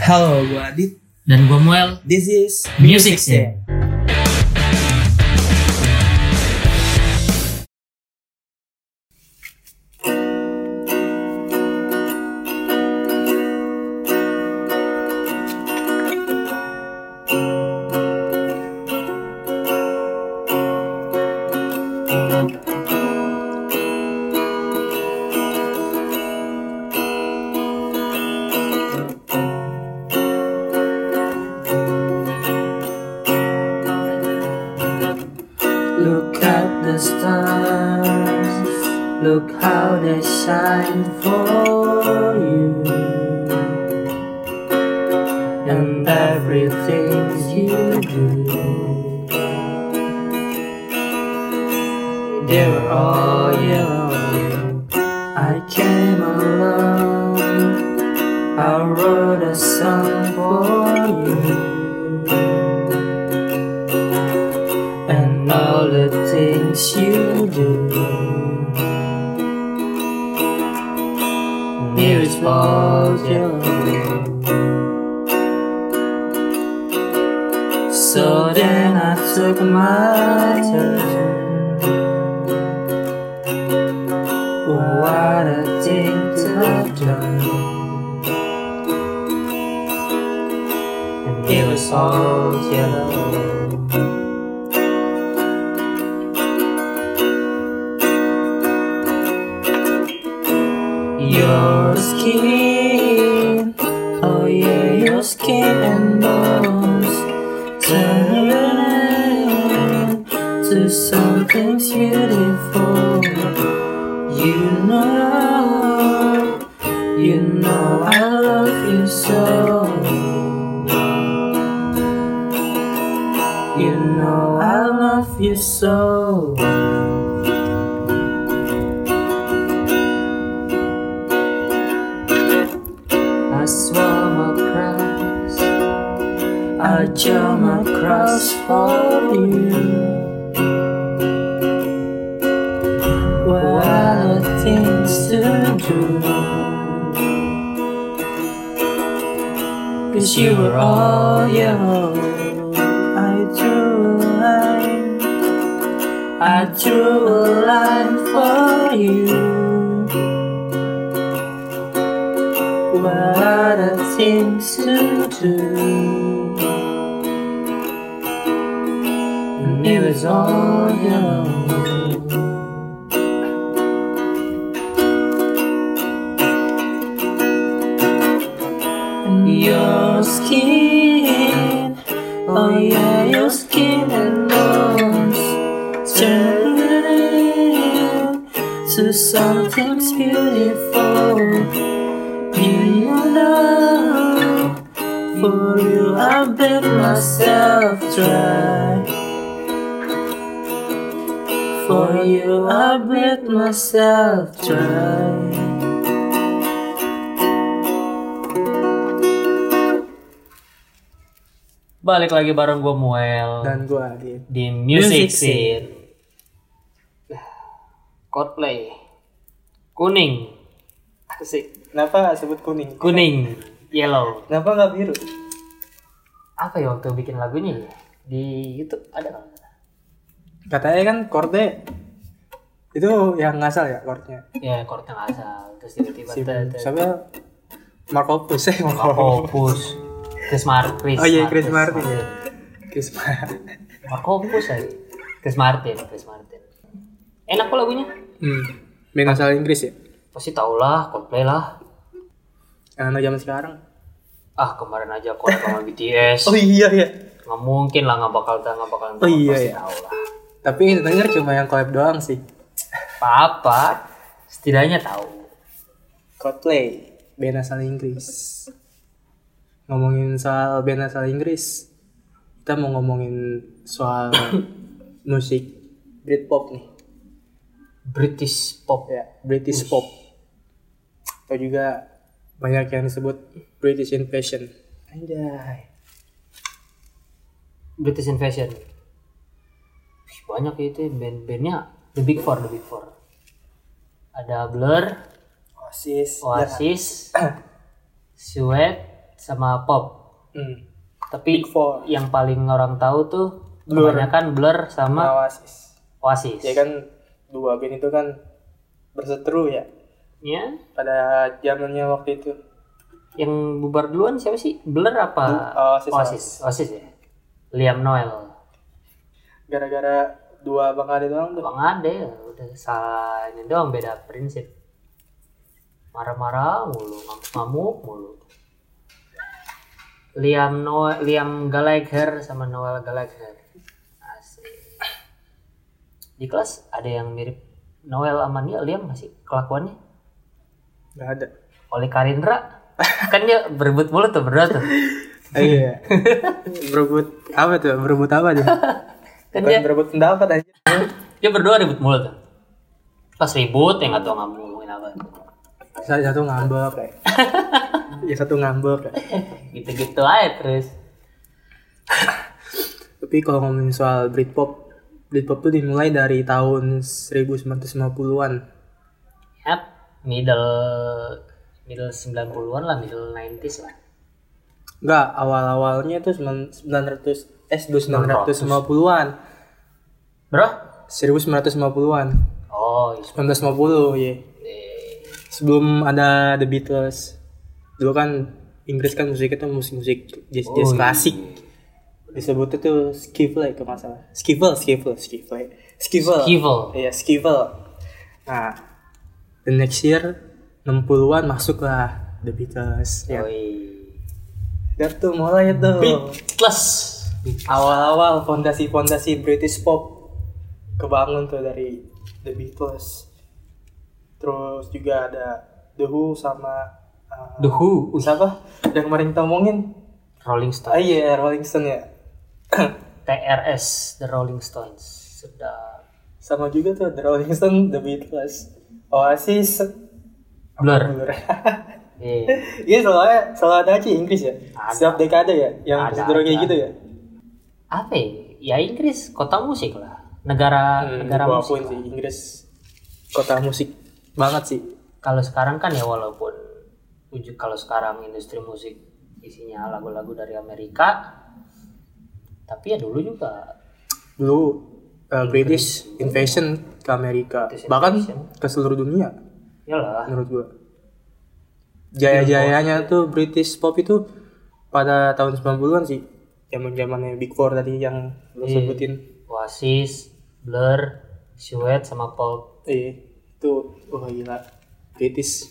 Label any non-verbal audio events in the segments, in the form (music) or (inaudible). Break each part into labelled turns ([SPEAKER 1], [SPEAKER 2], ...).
[SPEAKER 1] Halo, gue Adit.
[SPEAKER 2] Dan gue Muel,
[SPEAKER 1] This is
[SPEAKER 2] Music Scene.
[SPEAKER 3] Look at the stars, look how they shine for you. And everything you do, they were all yellow. I came along, I wrote a song for you and all the things you do. News falls So then I took my turn. What a thing to have done. And it was all yellow. Your skin, oh yeah, your skin and bones turn to something beautiful. You know, you know I love you so. You know I love you so. I swam across, I jump across for you. What are things to do? Cause you were all yellow. I drew a line, I drew a line for you. What are things to do? And it was all yellow. And your skin, oh yeah, your skin and bones turn to something beautiful. You know, for you I bet myself dry. For you I bet myself dry.
[SPEAKER 2] Balik lagi bareng gue Muel
[SPEAKER 1] Dan gue Adit.
[SPEAKER 2] di Music
[SPEAKER 3] Music
[SPEAKER 2] Scene. Coldplay. Kuning,
[SPEAKER 3] Asik.
[SPEAKER 1] Kenapa gak sebut kuning?
[SPEAKER 2] kuning, yellow.
[SPEAKER 1] Kenapa gak biru?
[SPEAKER 2] Apa ya waktu bikin lagunya ya? Di YouTube ada nggak?
[SPEAKER 1] Katanya kan chordnya itu yang ngasal ya chordnya.
[SPEAKER 2] Ya, chordnya nggak asal. Terus tiba-tiba
[SPEAKER 1] Si
[SPEAKER 2] tet- tet-
[SPEAKER 1] siapa? Marco Pus eh Marco.
[SPEAKER 2] Markopus. Chris Martin.
[SPEAKER 1] Oh iya Chris Martin ya. Chris Martin.
[SPEAKER 2] Markopus aja. ya. Chris Martin, Chris Martin. Enak kok lagunya?
[SPEAKER 1] (laughs) Hmm. Main asal Inggris ya.
[SPEAKER 2] Pasti tau lah, Coldplay lah.
[SPEAKER 1] Anak Anu, zaman sekarang.
[SPEAKER 2] Ah, kemarin aja aku sama (laughs) BTS.
[SPEAKER 1] Oh iya ya.
[SPEAKER 2] nggak mungkin lah nggak bakal nggak bakal
[SPEAKER 1] Oh iya,
[SPEAKER 2] pasti
[SPEAKER 1] iya.
[SPEAKER 2] tahu lah
[SPEAKER 1] Tapi yang denger cuma yang collab doang sih.
[SPEAKER 2] apa apa setidaknya tahu
[SPEAKER 1] Coldplay band asal Inggris ngomongin soal band asal Inggris kita mau ngomongin (coughs) soal musik Britpop nih
[SPEAKER 2] British pop
[SPEAKER 1] ya British pop atau juga banyak yang disebut British Invasion Anjay
[SPEAKER 2] British Invasion Wih, banyak ya itu ya band-bandnya The Big Four The Big Four ada Blur
[SPEAKER 1] Oasis (coughs)
[SPEAKER 2] Oasis Sweat sama pop.
[SPEAKER 1] Hmm.
[SPEAKER 2] Tapi
[SPEAKER 1] Big Four.
[SPEAKER 2] yang paling orang tahu tuh
[SPEAKER 1] Blur.
[SPEAKER 2] kebanyakan Blur sama
[SPEAKER 1] Oasis.
[SPEAKER 2] Oasis.
[SPEAKER 1] Ya kan dua band itu kan berseteru ya
[SPEAKER 2] Ya,
[SPEAKER 1] pada zamannya waktu itu.
[SPEAKER 2] yang bubar duluan siapa sih? Blur apa
[SPEAKER 1] Oasis.
[SPEAKER 2] Oasis? Oasis ya. Liam Noel.
[SPEAKER 1] Gara-gara dua bang Ade doang tuh.
[SPEAKER 2] Bang Ade ya, udah salah ini doang beda prinsip. Marah-marah mulu, ngamuk-ngamuk mulu. Liam no Liam Gallagher sama Noel Gallagher. Asik. Di kelas ada yang mirip Noel sama Nia- Liam masih kelakuannya?
[SPEAKER 1] Gak ada.
[SPEAKER 2] Oleh Karindra kan dia berebut mulu tuh berdua tuh.
[SPEAKER 1] (laughs) Iya. berebut apa tuh? Berebut apa dia? (laughs)
[SPEAKER 2] Kan
[SPEAKER 1] Bukan
[SPEAKER 2] dia
[SPEAKER 1] berebut pendapat aja.
[SPEAKER 2] dia berdua ribut mulu tuh. Pas ribut ya nggak tahu ngam- ngomongin apa.
[SPEAKER 1] Satu, satu ngambek kayak. ya satu ngambek kayak.
[SPEAKER 2] Gitu-gitu aja terus.
[SPEAKER 1] Tapi kalau ngomongin soal Britpop, Britpop tuh dimulai dari tahun 1950-an.
[SPEAKER 2] Yap, middle middle 90-an lah, middle 90s lah.
[SPEAKER 1] Enggak, awal-awalnya tuh 900 eh 1950-an.
[SPEAKER 2] Bro?
[SPEAKER 1] 1950-an.
[SPEAKER 2] Oh, yes.
[SPEAKER 1] 1950, ya.
[SPEAKER 2] Eh,
[SPEAKER 1] Sebelum ada The Beatles. Dulu kan Inggris kan musik itu musik-musik jazz, jazz klasik. Disebutnya tuh skiffle kalau nggak salah. Skiffle, skiffle, skiffle. Skiffle.
[SPEAKER 2] Skiffle.
[SPEAKER 1] Iya, skiffle. Nah, the next year 60-an masuklah The Beatles. Ya.
[SPEAKER 2] Yoi.
[SPEAKER 1] Udah tuh mulai tuh.
[SPEAKER 2] Plus.
[SPEAKER 1] Awal-awal fondasi-fondasi British pop kebangun tuh dari The Beatles. Terus juga ada The Who sama uh,
[SPEAKER 2] The Who. Wih,
[SPEAKER 1] siapa? Yang kemarin kita omongin.
[SPEAKER 2] Rolling
[SPEAKER 1] Ah
[SPEAKER 2] Stones.
[SPEAKER 1] iya, Rolling Stone ya. (coughs)
[SPEAKER 2] TRS, The Rolling Stones. Sedap.
[SPEAKER 1] Sama juga tuh The Rolling Stone, The Beatles, Oasis, (laughs)
[SPEAKER 2] Blur.
[SPEAKER 1] Blur.
[SPEAKER 2] Eh,
[SPEAKER 1] Iya soalnya selalu ada aja Inggris ya.
[SPEAKER 2] Ada.
[SPEAKER 1] Setiap dekade ya yang
[SPEAKER 2] Ada,
[SPEAKER 1] cenderung kayak
[SPEAKER 2] ada.
[SPEAKER 1] gitu ya.
[SPEAKER 2] Apa ya? Ya Inggris, kota musik lah. Negara Hmm. negara
[SPEAKER 1] gua
[SPEAKER 2] musik.
[SPEAKER 1] akuin
[SPEAKER 2] lah.
[SPEAKER 1] sih Inggris kota musik banget sih.
[SPEAKER 2] Kalau sekarang kan ya walaupun ujuk kalau sekarang industri musik isinya lagu-lagu dari Amerika, tapi ya dulu juga
[SPEAKER 1] Dulu uh, British invasion ke Amerika
[SPEAKER 2] kan British
[SPEAKER 1] bahkan
[SPEAKER 2] invasion.
[SPEAKER 1] ke seluruh dunia
[SPEAKER 2] Yalah,
[SPEAKER 1] menurut gua.
[SPEAKER 2] Iya.
[SPEAKER 1] Jaya-jayanya tuh British pop itu pada tahun 90-an sih. Zaman-zamannya Big Four tadi yang lo
[SPEAKER 2] Iya.
[SPEAKER 1] sebutin.
[SPEAKER 2] Oasis, Blur, Suede sama Pulp.
[SPEAKER 1] Iya, itu wah gila. British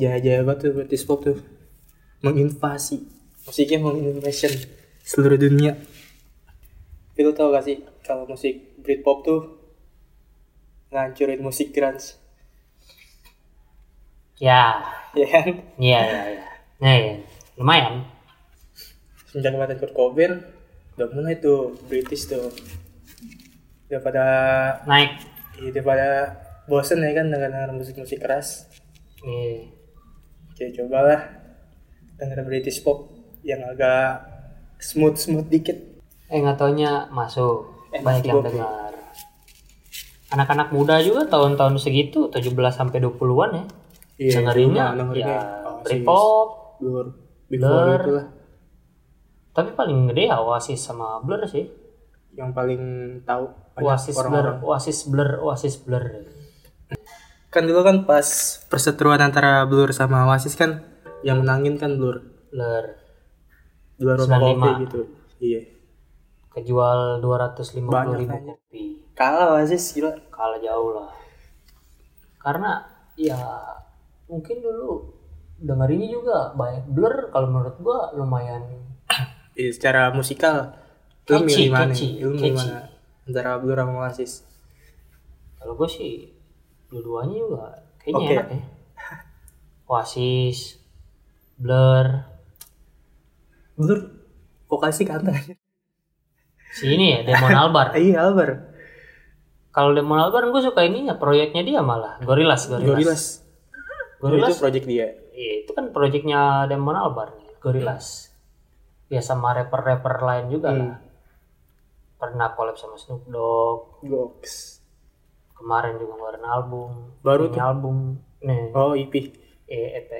[SPEAKER 1] jaya-jaya banget tuh British pop tuh menginvasi musiknya menginvasion seluruh dunia. Tapi lo tau gak sih kalau musik Britpop tuh ngancurin musik grunge, (laughs)
[SPEAKER 2] Ya,
[SPEAKER 1] ya kan?
[SPEAKER 2] iya iya iya. Nah, iya. lumayan.
[SPEAKER 1] Sejak kematian Kurt Cobain, udah mulai tuh British tuh. Udah pada,
[SPEAKER 2] Naik.
[SPEAKER 1] udah pada iya, bosen ya kan dengan dengar musik-musik keras.
[SPEAKER 2] Iya.
[SPEAKER 1] Oke, cobalah denger British pop yang agak smooth smooth dikit.
[SPEAKER 2] Eh nggak taunya masuk.
[SPEAKER 1] Eh,
[SPEAKER 2] Banyak yang
[SPEAKER 1] masuk.
[SPEAKER 2] dengar. Anak-anak muda juga tahun-tahun segitu 17 sampai 20-an ya. dengerinnya
[SPEAKER 1] cuma
[SPEAKER 2] ya
[SPEAKER 1] Iya, dengerinnya Oasis,
[SPEAKER 2] Britpop,
[SPEAKER 1] Oh, Blur, Before
[SPEAKER 2] Blur.
[SPEAKER 1] itu lah.
[SPEAKER 2] tapi paling gede ya Oasis sama Blur sih.
[SPEAKER 1] Yang paling tahu banyak
[SPEAKER 2] Oasis Blur,
[SPEAKER 1] orang-orang.
[SPEAKER 2] Oasis Blur, Oasis Blur.
[SPEAKER 1] Kan dulu kan pas perseteruan antara Blur sama Oasis kan yang menangin kan Blur.
[SPEAKER 2] Blur
[SPEAKER 1] Dua orang
[SPEAKER 2] 95.
[SPEAKER 1] kopi gitu. Iya.
[SPEAKER 2] kejual 250
[SPEAKER 1] Banyak
[SPEAKER 2] ribu
[SPEAKER 1] aja.
[SPEAKER 2] kopi.
[SPEAKER 1] Kalah Oasis gila.
[SPEAKER 2] kalah jauh lah karena ya mungkin dulu dengerinnya juga banyak blur kalau menurut gua lumayan
[SPEAKER 1] Iya, secara musikal lu
[SPEAKER 2] Catchy,
[SPEAKER 1] milih mana?
[SPEAKER 2] catchy,
[SPEAKER 1] Lu milih
[SPEAKER 2] catchy.
[SPEAKER 1] mana? Antara Blur sama Oasis.
[SPEAKER 2] kalau gua sih dua-duanya juga kayaknya
[SPEAKER 1] Oke.
[SPEAKER 2] enak ya Oasis blur
[SPEAKER 1] Blur vokalisnya ganteng.
[SPEAKER 2] si ini ya Demon Albar
[SPEAKER 1] Iya, Albert.
[SPEAKER 2] kalau Demon Albar gua suka ininya proyeknya dia malah Gorillaz Gorillaz
[SPEAKER 1] Gorillaz.
[SPEAKER 2] Gorillaz
[SPEAKER 1] Itu project dia.
[SPEAKER 2] Iya, itu kan proyeknya Damon Albarn nih, Gorillaz. Ya sama rapper-rapper lain juga lah.
[SPEAKER 1] Hmm.
[SPEAKER 2] Pernah collab sama Snoop Dogg,
[SPEAKER 1] Gox.
[SPEAKER 2] kemarin juga ngeluarin album.
[SPEAKER 1] Baru
[SPEAKER 2] mini album. Nih, E,
[SPEAKER 1] Oh, IP.
[SPEAKER 2] eh EP,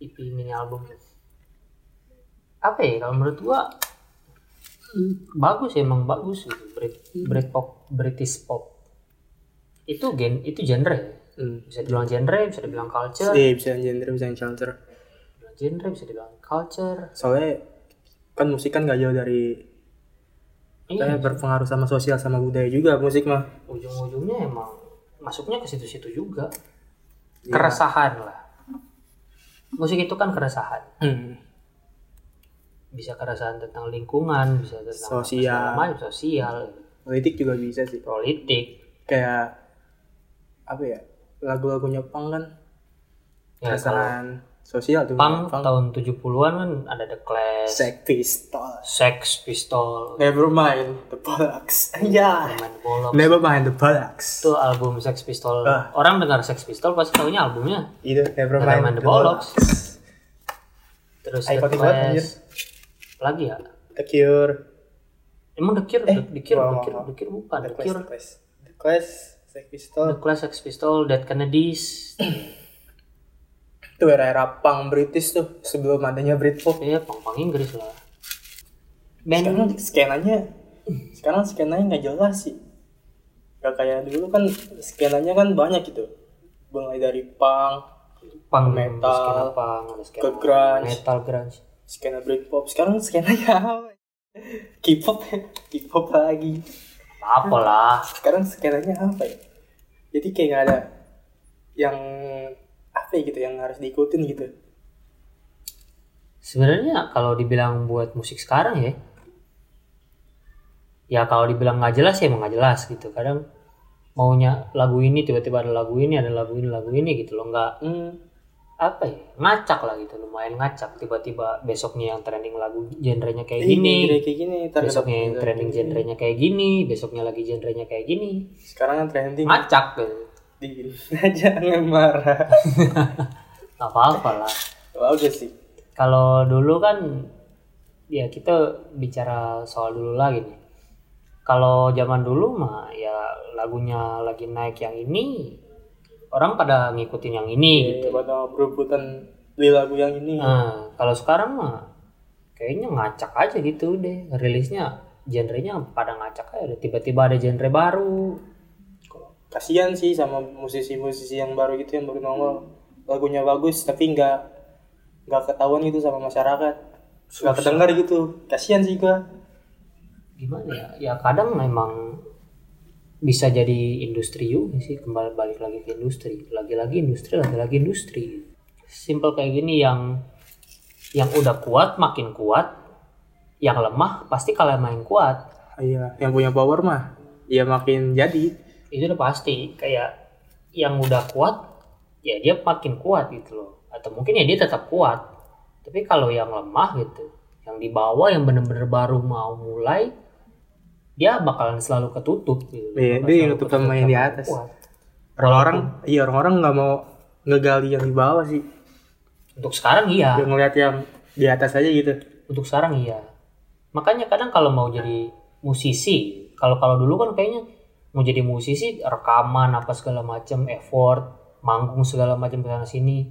[SPEAKER 2] EP mini album. apa ya kalau menurut gua bagus ya, emang bagus gitu Brit Britpop British pop itu gen itu genre ya.
[SPEAKER 1] Hmm.
[SPEAKER 2] bisa dibilang genre bisa dibilang culture
[SPEAKER 1] Iya bisa genre bisa culture.
[SPEAKER 2] dibilang genre bisa dibilang culture
[SPEAKER 1] Soalnya kan musik kan gak jauh dari eh,
[SPEAKER 2] iya
[SPEAKER 1] berpengaruh sama sosial sama budaya juga musik mah.
[SPEAKER 2] ujung-ujungnya emang masuknya ke situ-situ juga keresahan lah musik itu kan keresahan
[SPEAKER 1] Hmm.
[SPEAKER 2] bisa keresahan tentang lingkungan bisa tentang apa
[SPEAKER 1] Sosial.
[SPEAKER 2] segala macam, sosial
[SPEAKER 1] Politik juga bisa sih.
[SPEAKER 2] politik
[SPEAKER 1] Kayak apa ya? Lagu-lagunya punk kan
[SPEAKER 2] ya kalau
[SPEAKER 1] keresahan sosial tuh.
[SPEAKER 2] punk tahun 70-an an kan ada The Clash
[SPEAKER 1] Sex Pistols.
[SPEAKER 2] Sex Pistol
[SPEAKER 1] Never mind the bollocks. Ya.
[SPEAKER 2] main bola
[SPEAKER 1] Never mind the bollocks.
[SPEAKER 2] itu album Sex Pistol
[SPEAKER 1] Ah.
[SPEAKER 2] orang dengar Sex Pistol pasti taunya albumnya
[SPEAKER 1] Itu never
[SPEAKER 2] Never mind
[SPEAKER 1] mind
[SPEAKER 2] the bollocks. terus The
[SPEAKER 1] Ikonik banget, anjir.
[SPEAKER 2] Clash lagi ya
[SPEAKER 1] The Cure.
[SPEAKER 2] emang The Cure The
[SPEAKER 1] Eh, wow,
[SPEAKER 2] Cure The
[SPEAKER 1] wow,
[SPEAKER 2] Cure
[SPEAKER 1] wow.
[SPEAKER 2] The Cure bukan
[SPEAKER 1] The
[SPEAKER 2] The
[SPEAKER 1] Clash.
[SPEAKER 2] Cure
[SPEAKER 1] The Clash. The Clash. Sex
[SPEAKER 2] The
[SPEAKER 1] Pistols.
[SPEAKER 2] Clash Sex Pistol Dead
[SPEAKER 1] (coughs)
[SPEAKER 2] Kennedys
[SPEAKER 1] Itu era-era punk British tuh sebelum adanya Britpop.
[SPEAKER 2] ya pang-pang Inggris lah band
[SPEAKER 1] Sekarang skenanya sekarang skenanya nggak jelas sih. Gak kayak dulu kan skenanya kan banyak gitu. Mulai dari punk,
[SPEAKER 2] punk
[SPEAKER 1] metal,
[SPEAKER 2] skena punk ada skena
[SPEAKER 1] ke grunge.
[SPEAKER 2] metal grunge
[SPEAKER 1] skena Britpop. Sekarang skenanya (laughs) apa? K-pop ya, K-pop lagi.
[SPEAKER 2] apa lah
[SPEAKER 1] sekarang skenanya apa ya jadi kayak nggak ada yang apa ya gitu yang harus diikutin gitu
[SPEAKER 2] sebenarnya kalau dibilang buat musik sekarang ya ya kalau dibilang nggak jelas ya emang nggak jelas gitu kadang maunya lagu ini tiba-tiba ada lagu ini ada lagu ini lagu ini gitu loh nggak
[SPEAKER 1] hmm.
[SPEAKER 2] apa ya ngacak lah gitu lumayan ngacak tiba-tiba besoknya yang trending lagu genrenya kayak gini
[SPEAKER 1] genre kayak gini ntar
[SPEAKER 2] besoknya yang
[SPEAKER 1] ketemu-
[SPEAKER 2] trending genrenya kayak gini besoknya lagi genrenya kayak gini
[SPEAKER 1] gitu. sekarang yang trending
[SPEAKER 2] ngacak gitu
[SPEAKER 1] di (laughs) aja jangan marah
[SPEAKER 2] nggak apa-apa lah
[SPEAKER 1] Wah, Ya, udah sih
[SPEAKER 2] kalau dulu kan ya kita bicara soal dulu lagi nih kalau zaman dulu mah ya lagunya lagi naik yang ini orang pada ngikutin yang ini gitu
[SPEAKER 1] Kayak Iya, buat sama perebutan beli lagu yang ini
[SPEAKER 2] nah kalau sekarang mah kayaknya ngacak aja gitu deh rilisnya genrenya pada ngacak aja tiba-tiba ada genre baru
[SPEAKER 1] kasihan sih sama musisi-musisi yang baru gitu yang baru nongol lagunya bagus tapi nggak nggak ketahuan gitu sama masyarakat nggak kedengar gitu kasihan sih gua
[SPEAKER 2] gimana ya ya kadang memang bisa jadi industri juga sih kembali balik lagi ke industri lagi-lagi industri lagi-lagi industri simple kayak gini yang yang udah kuat makin kuat yang lemah pasti kalah main kuat
[SPEAKER 1] iya yang punya power mah ya makin jadi
[SPEAKER 2] itu udah pasti kayak yang udah kuat ya dia makin kuat gitu loh atau mungkin ya dia tetap kuat tapi kalau yang lemah gitu yang di bawah yang bener-bener baru mau mulai dia bakalan selalu ketutup gitu
[SPEAKER 1] Iya,
[SPEAKER 2] Bakal
[SPEAKER 1] dia yang
[SPEAKER 2] selalu
[SPEAKER 1] ketutup sama yang di
[SPEAKER 2] sama
[SPEAKER 1] atas.
[SPEAKER 2] kuat.
[SPEAKER 1] orang-orang iya orang-orang nggak mau ngegali yang di bawah sih
[SPEAKER 2] untuk sekarang iya
[SPEAKER 1] dia ngeliat yang di atas aja gitu
[SPEAKER 2] untuk sekarang iya makanya kadang kalau mau jadi musisi kalau kalau dulu kan kayaknya mau jadi musisi rekaman apa segala macam effort manggung segala macam ke sana sini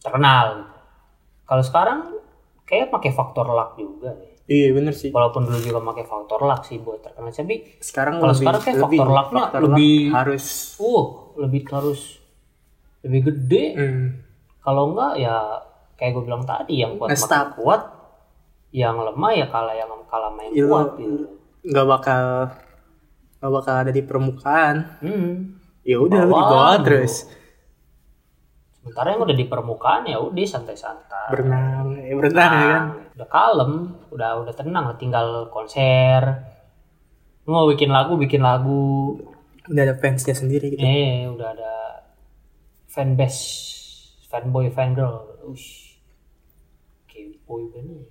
[SPEAKER 2] terkenal gitu. kalau sekarang kayak pakai faktor luck juga deh.
[SPEAKER 1] iya bener sih
[SPEAKER 2] walaupun dulu juga pakai faktor luck sih buat terkenal tapi
[SPEAKER 1] sekarang
[SPEAKER 2] Kalau
[SPEAKER 1] lebih,
[SPEAKER 2] sekarang kayak
[SPEAKER 1] lebih
[SPEAKER 2] faktor lucknya
[SPEAKER 1] faktor
[SPEAKER 2] lebih-
[SPEAKER 1] luck harus
[SPEAKER 2] uh lebih harus lebih gede
[SPEAKER 1] hmm,
[SPEAKER 2] kalau enggak ya kayak gue bilang tadi yang kuat
[SPEAKER 1] Nge-stuck.
[SPEAKER 2] makin kuat yang lemah ya kalah yang kalah main
[SPEAKER 1] Iya,
[SPEAKER 2] kuat gitu.
[SPEAKER 1] nggak bakal nggak bakal ada di permukaan
[SPEAKER 2] Hmm.
[SPEAKER 1] ya udah lu di
[SPEAKER 2] Bawah
[SPEAKER 1] bawah
[SPEAKER 2] dulu.
[SPEAKER 1] terus
[SPEAKER 2] Sementara yang udah di permukaan ya udah santai-santai.
[SPEAKER 1] berenang ya berenang ya kan
[SPEAKER 2] Udah kalem, udah udah tenang, tinggal konser. Mau bikin lagu, bikin lagu.
[SPEAKER 1] udah ada fansnya sendiri gitu
[SPEAKER 2] Eh, udah ada fanbase, fanboy, fangirl. Ush. Kayak boy band. ya.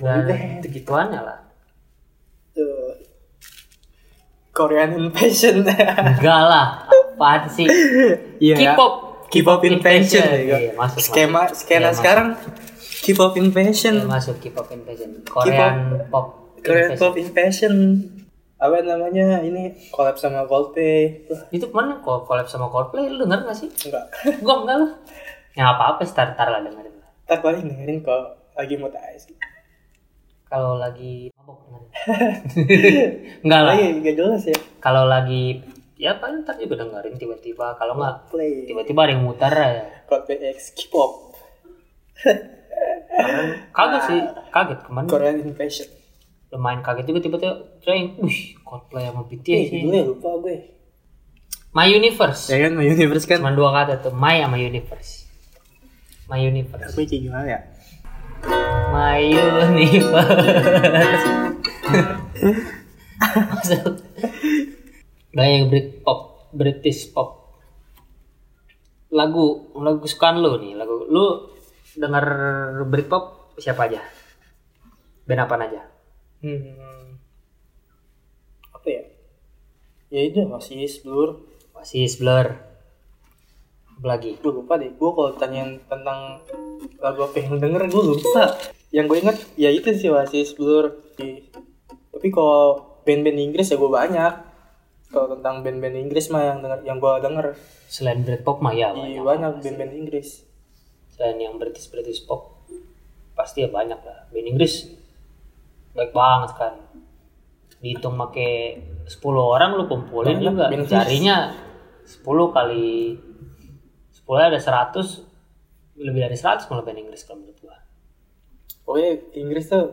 [SPEAKER 2] Udah ada gitu-gituannya lah.
[SPEAKER 1] Tuh. Korean invasion
[SPEAKER 2] Enggak lah, apaan sih?
[SPEAKER 1] (laughs) iya
[SPEAKER 2] K-pop.
[SPEAKER 1] K-pop invasion ya, kan?
[SPEAKER 2] Iya, masuk,
[SPEAKER 1] skema
[SPEAKER 2] masuk. Iya,
[SPEAKER 1] skena
[SPEAKER 2] masuk.
[SPEAKER 1] sekarang K-pop invasion
[SPEAKER 2] Ya, masuk K-pop invasion. Korean pop.
[SPEAKER 1] Korean
[SPEAKER 2] invasion.
[SPEAKER 1] Pop Invasion apa namanya ini collab sama Coldplay Wah,
[SPEAKER 2] Itu kemana kok collab sama Coldplay? Lu denger gak sih?
[SPEAKER 1] enggak (laughs)
[SPEAKER 2] Gua enggak lah. Ya apa-apa, star-star lah dengerin. lah.
[SPEAKER 1] Ntar paling dengerin kok lagi mau tais.
[SPEAKER 2] Kalau lagi mabok dengerin. Enggak lah.
[SPEAKER 1] Lagi gak jelas ya.
[SPEAKER 2] Kalau lagi ya paling ntar juga dengerin tiba-tiba. Kalau nggak
[SPEAKER 1] Play.
[SPEAKER 2] tiba-tiba ada yang muter ya.
[SPEAKER 1] Coldplay X K-pop.
[SPEAKER 2] Kaget sih, kaget kemarin.
[SPEAKER 1] Korean Invasion.
[SPEAKER 2] Lumayan kaget juga tiba-tiba Train, wih, Coldplay sama BTS
[SPEAKER 1] Iya, judulnya
[SPEAKER 2] nih.
[SPEAKER 1] lupa gue.
[SPEAKER 2] My Universe.
[SPEAKER 1] Ya kan, My Universe kan.
[SPEAKER 2] Cuma dua kata tuh, My sama Universe. My Universe.
[SPEAKER 1] Tapi kayak gimana ya?
[SPEAKER 2] My Universe. Masuk. Banyak Britpop, British pop. Lagu, lagu kesukaan lu nih, lagu lu denger Britpop siapa aja? Band apaan aja?
[SPEAKER 1] Hmm. Apa ya? Ya itu masih Blur.
[SPEAKER 2] Oasis, Blur. Apa lagi?
[SPEAKER 1] Gue lupa deh. Gue kalau tanyain tentang lagu apa yang denger, gue lupa. Yang gue ingat ya itu sih Oasis Blur. Di- Tapi kalau band-band Inggris ya gue banyak. Kalau tentang band-band Inggris mah yang denger, yang gue denger,
[SPEAKER 2] Selain Britpop mah ya
[SPEAKER 1] Iya,
[SPEAKER 2] banyak.
[SPEAKER 1] banyak band-band Inggris.
[SPEAKER 2] selain yang British British pop pasti ya banyak lah band Inggris baik banget kan dihitung make 10 orang lu kumpulin
[SPEAKER 1] Banyak
[SPEAKER 2] juga
[SPEAKER 1] band Inggris.
[SPEAKER 2] jarinya 10 kali 10 ada 100 lebih dari 100 malah band Inggris kalau menurut gua
[SPEAKER 1] Pokoknya Inggris tuh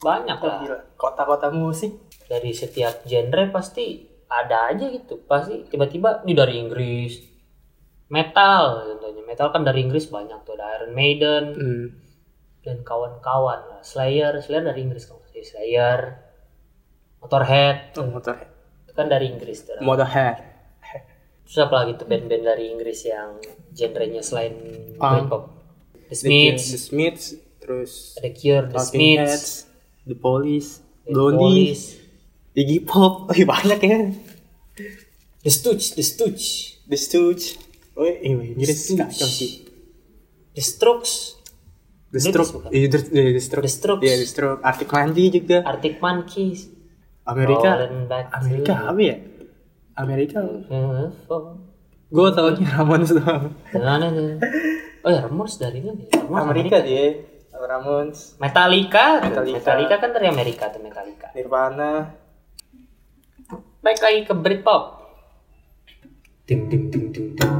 [SPEAKER 2] banyak
[SPEAKER 1] wah,
[SPEAKER 2] lah
[SPEAKER 1] gila. kota-kota musik.
[SPEAKER 2] dari setiap genre pasti ada aja gitu pasti tiba-tiba ini dari Inggris metal contohnya metal kan dari Inggris banyak tuh ada Iron Maiden
[SPEAKER 1] Hmm.
[SPEAKER 2] dan kawan-kawan Slayer Slayer dari Inggris kan Slayer Motorhead
[SPEAKER 1] Oh, motorhead.
[SPEAKER 2] itu kan dari Inggris tuh
[SPEAKER 1] Motorhead.
[SPEAKER 2] terus apa lagi tuh band-band dari Inggris yang genrenya selain
[SPEAKER 1] Punk.
[SPEAKER 2] Britpop
[SPEAKER 1] The
[SPEAKER 2] The
[SPEAKER 1] Smiths,
[SPEAKER 2] Smiths
[SPEAKER 1] The Smiths, terus
[SPEAKER 2] The Cure The
[SPEAKER 1] Talking Heads,
[SPEAKER 2] Smiths
[SPEAKER 1] The Police,
[SPEAKER 2] The
[SPEAKER 1] Blondie,
[SPEAKER 2] Police
[SPEAKER 1] Iggy Pop, (laughs) oh, banyak ya.
[SPEAKER 2] The Stooges The Stooges
[SPEAKER 1] The Stooges, oh iya Inggris kacau sih.
[SPEAKER 2] The Strokes
[SPEAKER 1] The
[SPEAKER 2] British
[SPEAKER 1] Stroke,
[SPEAKER 2] bukan?
[SPEAKER 1] iya the, the, the Stroke,
[SPEAKER 2] The Strokes.
[SPEAKER 1] Iya, The Stroke, Arctic Monkey juga.
[SPEAKER 2] Arctic Monkeys
[SPEAKER 1] Amerika,
[SPEAKER 2] Rolling Back to
[SPEAKER 1] Amerika apa ya? Amerika,
[SPEAKER 2] the Phone.
[SPEAKER 1] gue taunya Ramones doang.
[SPEAKER 2] oh ya Ramones dari mana ya? Ramones
[SPEAKER 1] Amerika dia, Ramones,
[SPEAKER 2] Metallica, Metallica.
[SPEAKER 1] Metallica.
[SPEAKER 2] kan dari Amerika tuh Metallica.
[SPEAKER 1] Nirvana,
[SPEAKER 2] Baik lagi ke Britpop. Ding ding ding ding ding.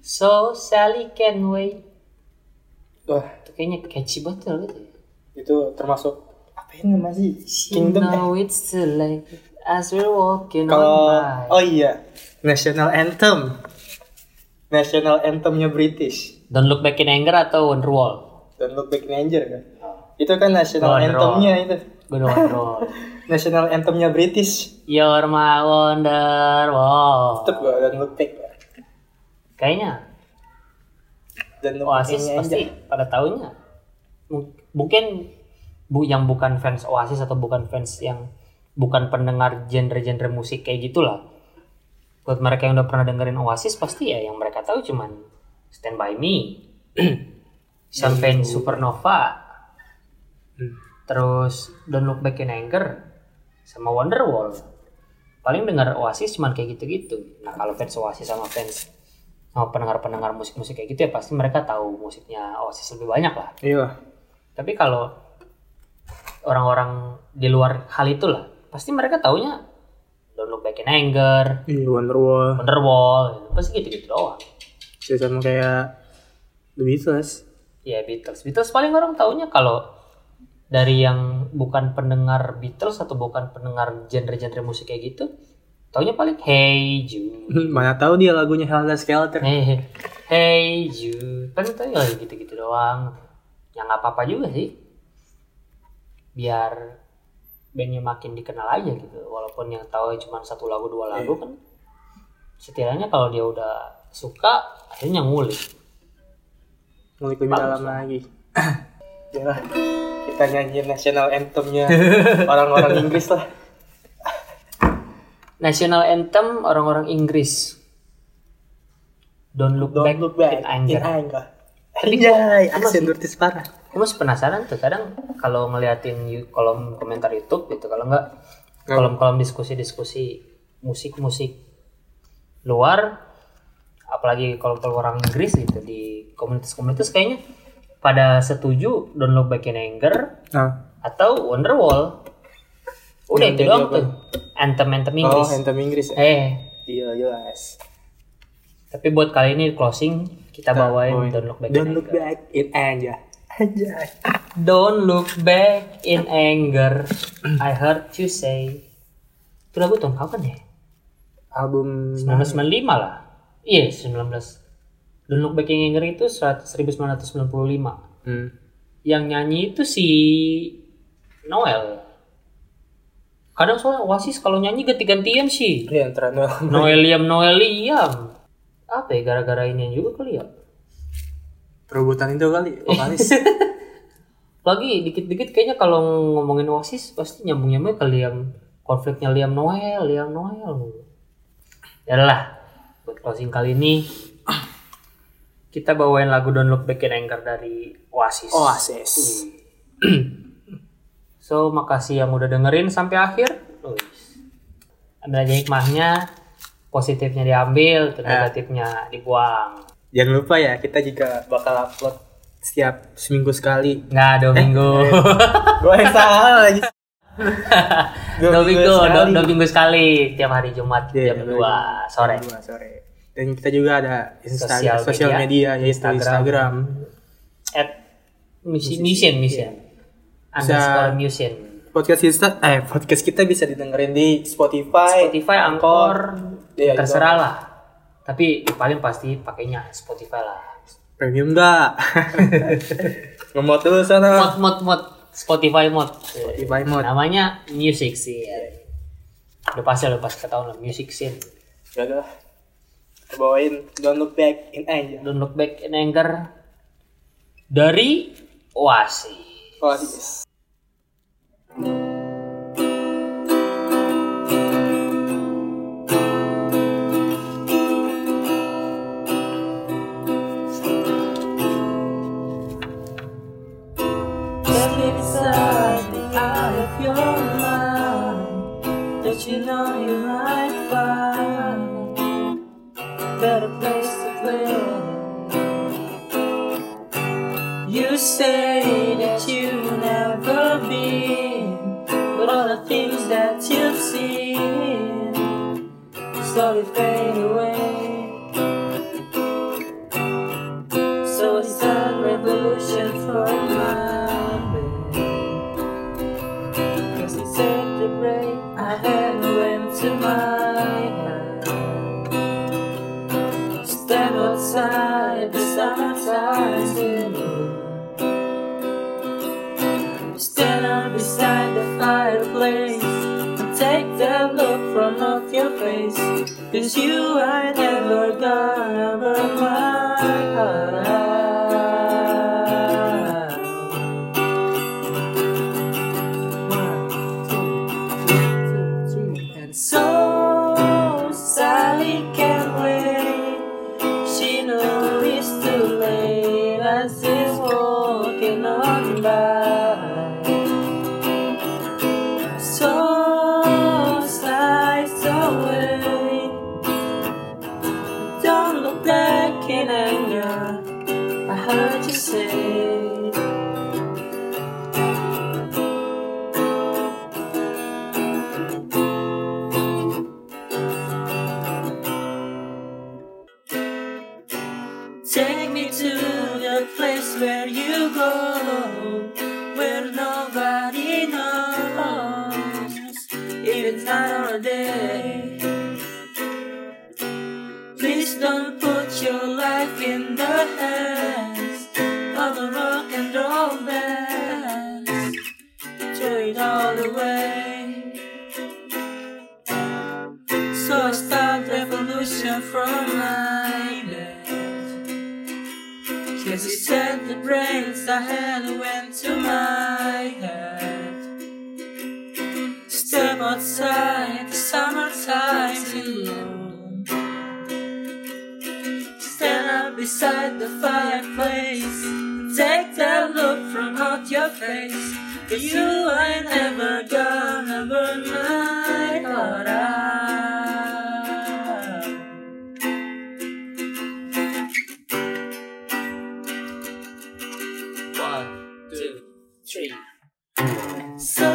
[SPEAKER 2] So Sally Can Wait.
[SPEAKER 1] wah
[SPEAKER 2] Itu kayaknya catchy banget ya, gitu. ya.
[SPEAKER 1] itu termasuk apa ini namanya sih? Kingdom eh,
[SPEAKER 2] Now it's too late as we're walking
[SPEAKER 1] Kalau
[SPEAKER 2] on by.
[SPEAKER 1] oh iya, national anthem. National anthemnya British.
[SPEAKER 2] Don't Look Back in Anger atau Wonderwall.
[SPEAKER 1] Don't look back in anger kan. Itu kan national
[SPEAKER 2] Wonderwall.
[SPEAKER 1] anthemnya itu.
[SPEAKER 2] Gue udah (laughs) Wonderwall.
[SPEAKER 1] National anthemnya British.
[SPEAKER 2] You're my Wonderwall.
[SPEAKER 1] Tetep gua don't look back.
[SPEAKER 2] Kayaknya
[SPEAKER 1] Dan look back
[SPEAKER 2] Oasis
[SPEAKER 1] in
[SPEAKER 2] pasti
[SPEAKER 1] anger.
[SPEAKER 2] pada tahunnya M- mungkin bu yang bukan fans Oasis atau bukan fans yang bukan pendengar genre-genre musik kayak gitulah buat mereka yang udah pernah dengerin Oasis pasti ya yang mereka tahu cuman Stand By Me (clears throat) Champagne Supernova terus Don't Look Back in Anger sama Wonderwall paling dengar Oasis cuman kayak gitu-gitu nah kalau fans Oasis sama fans sama pendengar-pendengar musik-musik kayak gitu ya pasti mereka tahu musiknya Oasis lebih banyak lah
[SPEAKER 1] Iya. lah.
[SPEAKER 2] tapi kalau orang-orang di luar hal itulah pasti mereka taunya Don't Look Back in Anger
[SPEAKER 1] Iya Wonderwall.
[SPEAKER 2] Wonderwall gitu. pasti gitu-gitu doang
[SPEAKER 1] Ya, sama kayak The Beatles. (laughs)
[SPEAKER 2] ya Beatles Beatles paling orang taunya kalau dari yang bukan pendengar Beatles atau bukan pendengar genre-genre musik kayak gitu taunya paling Hey Jude
[SPEAKER 1] Mana tahu dia lagunya Helter Skelter.
[SPEAKER 2] Hey, hey, Eh, hey Jude kan itu ya gitu-gitu doang ya nggak apa-apa juga sih biar bandnya makin dikenal aja gitu walaupun yang tahu cuma satu lagu dua lagu
[SPEAKER 1] Iya.
[SPEAKER 2] kan setidaknya kalau dia udah suka akhirnya ngulik
[SPEAKER 1] Ngulik lebih dalam lagi. (coughs) Yalah, kita nyanyiin national anthemnya orang-orang Inggris lah.
[SPEAKER 2] National Anthem orang-orang Inggris Don't Look
[SPEAKER 1] Don't
[SPEAKER 2] Back,
[SPEAKER 1] look back
[SPEAKER 2] in Anger
[SPEAKER 1] in anger. Anjay, aksen British parah.
[SPEAKER 2] Gue masih penasaran tuh kadang kalau ngeliatin you- kolom komentar YouTube gitu kalau nggak kolom-kolom diskusi-diskusi musik-musik luar apalagi kalau orang Inggris gitu di komunitas-komunitas kayaknya pada setuju download Back in Anger
[SPEAKER 1] Nah,
[SPEAKER 2] atau Wonderwall udah
[SPEAKER 1] Yang
[SPEAKER 2] itu
[SPEAKER 1] jadi
[SPEAKER 2] doang
[SPEAKER 1] apa?
[SPEAKER 2] tuh anthem anthem
[SPEAKER 1] oh
[SPEAKER 2] Inggris
[SPEAKER 1] anthem Inggris.
[SPEAKER 2] eh
[SPEAKER 1] Iya jelas.
[SPEAKER 2] tapi buat kali ini closing kita bawain
[SPEAKER 1] Bawain.
[SPEAKER 2] Don't Look Back
[SPEAKER 1] Don't
[SPEAKER 2] in
[SPEAKER 1] look
[SPEAKER 2] Anger
[SPEAKER 1] back in anger. Aja.
[SPEAKER 2] Don't Look Back in Anger I heard you say itu lagu tahun kapan ya
[SPEAKER 1] Album
[SPEAKER 2] 1995 lah iya 19 Don't Look Back in Anger itu 100 1995
[SPEAKER 1] hmm.
[SPEAKER 2] yang nyanyi itu si Noel. Kadang soalnya Oasis kalau nyanyi ganti-gantian sih.
[SPEAKER 1] Ini antara (laughs) Noel.
[SPEAKER 2] Noeliam, Noeliam. Apa ya gara-gara ini juga kali ya?
[SPEAKER 1] Perebutan itu kali, vokalis.
[SPEAKER 2] Lagi dikit-dikit kayaknya kalau ngomongin Oasis pasti nyambung-nyambung ke Liam konfliknya Liam Noel, Liam Noel. Ya lah, buat closing kali ini kita bawain lagu Don't Look Back in Anger dari Oasis.
[SPEAKER 1] (laughs) Oasis.
[SPEAKER 2] So, makasih yang udah dengerin sampai akhir. Oh, Wih. Ambil aja hikmahnya, positifnya diambil, terus
[SPEAKER 1] Eh.
[SPEAKER 2] negatifnya dibuang.
[SPEAKER 1] Jangan lupa ya, kita juga bakal upload setiap seminggu sekali. (laughs)
[SPEAKER 2] Nggak, dua minggu.
[SPEAKER 1] Gue yang salah lagi.
[SPEAKER 2] (laughs) dua,
[SPEAKER 1] Dua
[SPEAKER 2] minggu,
[SPEAKER 1] minggu
[SPEAKER 2] dua,
[SPEAKER 1] sekali.
[SPEAKER 2] dua minggu sekali. Tiap hari Jumat
[SPEAKER 1] Iya,
[SPEAKER 2] jam
[SPEAKER 1] dua
[SPEAKER 2] 2 sore.
[SPEAKER 1] Dua sore. Dan kita juga ada
[SPEAKER 2] Sosial
[SPEAKER 1] Instagram, sosial
[SPEAKER 2] media,
[SPEAKER 1] media, yaitu
[SPEAKER 2] Instagram.
[SPEAKER 1] Instagram.
[SPEAKER 2] At Mission, Mission, Mission.
[SPEAKER 1] Iya. Bisa-
[SPEAKER 2] Underscore Mission.
[SPEAKER 1] Podcast kita, eh podcast kita bisa didengerin di Spotify,
[SPEAKER 2] Spotify, Anchor,
[SPEAKER 1] Iya, gitu.
[SPEAKER 2] terserah lah. Tapi paling pasti pakainya Spotify lah.
[SPEAKER 1] Premium
[SPEAKER 2] (laughs)
[SPEAKER 1] enggak? Ngemot dulu sana.
[SPEAKER 2] Mod, mod, mod. Spotify mod.
[SPEAKER 1] Spotify mod.
[SPEAKER 2] Namanya Music Scene. Udah pasti udah pasti ketahuan lah Music Scene.
[SPEAKER 1] Ya udah. Kita Bawain Don't Look Back in Anger.
[SPEAKER 2] Don't look back in anger dari Oasis.
[SPEAKER 1] Oasis.
[SPEAKER 3] Look inside the eye of your mind that you know you might find better place to play. You say that you've never been, but all the things that you've seen slowly fade away. So it's a revolution for my Cause it's at the break I had went to my house Stand outside the summertime saloon. Stand up beside the fireplace and Take that look from off your face Cause you are never gonna burn my heart out. One, two, three, three. And so Sally can't wait. She knows it's too late as it's walking on by. So slides away. Don't look back in anger. I heard you say. Take me to the place where you go, where nobody knows, even night or day. Please don't put your life in the hands of a rock and roll band. Throw it all away. So I start revolution from my bed. Cause you said the brains I had went to my head. Step outside, the summertime's in Rome. Stand up beside the fireplace. Take that look from out your face. Cause you ain't ever gonna burn my heart out.
[SPEAKER 1] two, three.
[SPEAKER 3] So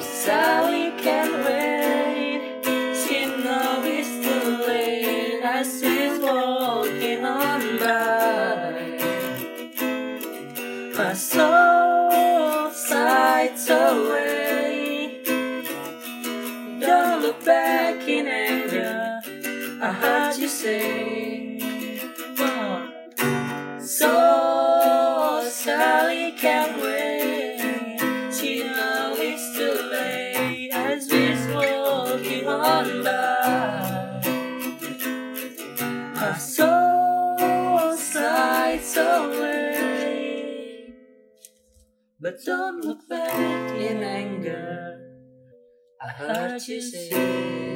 [SPEAKER 3] Sally can't wait. She knows it's too late as she's walking on by. My soul sighs away. Don't look back in anger. I heard you say. One. So Sally can't wait. She knows it's too late as we're walking on by. Her soul sighs away, but don't look back in anger. I heard you say.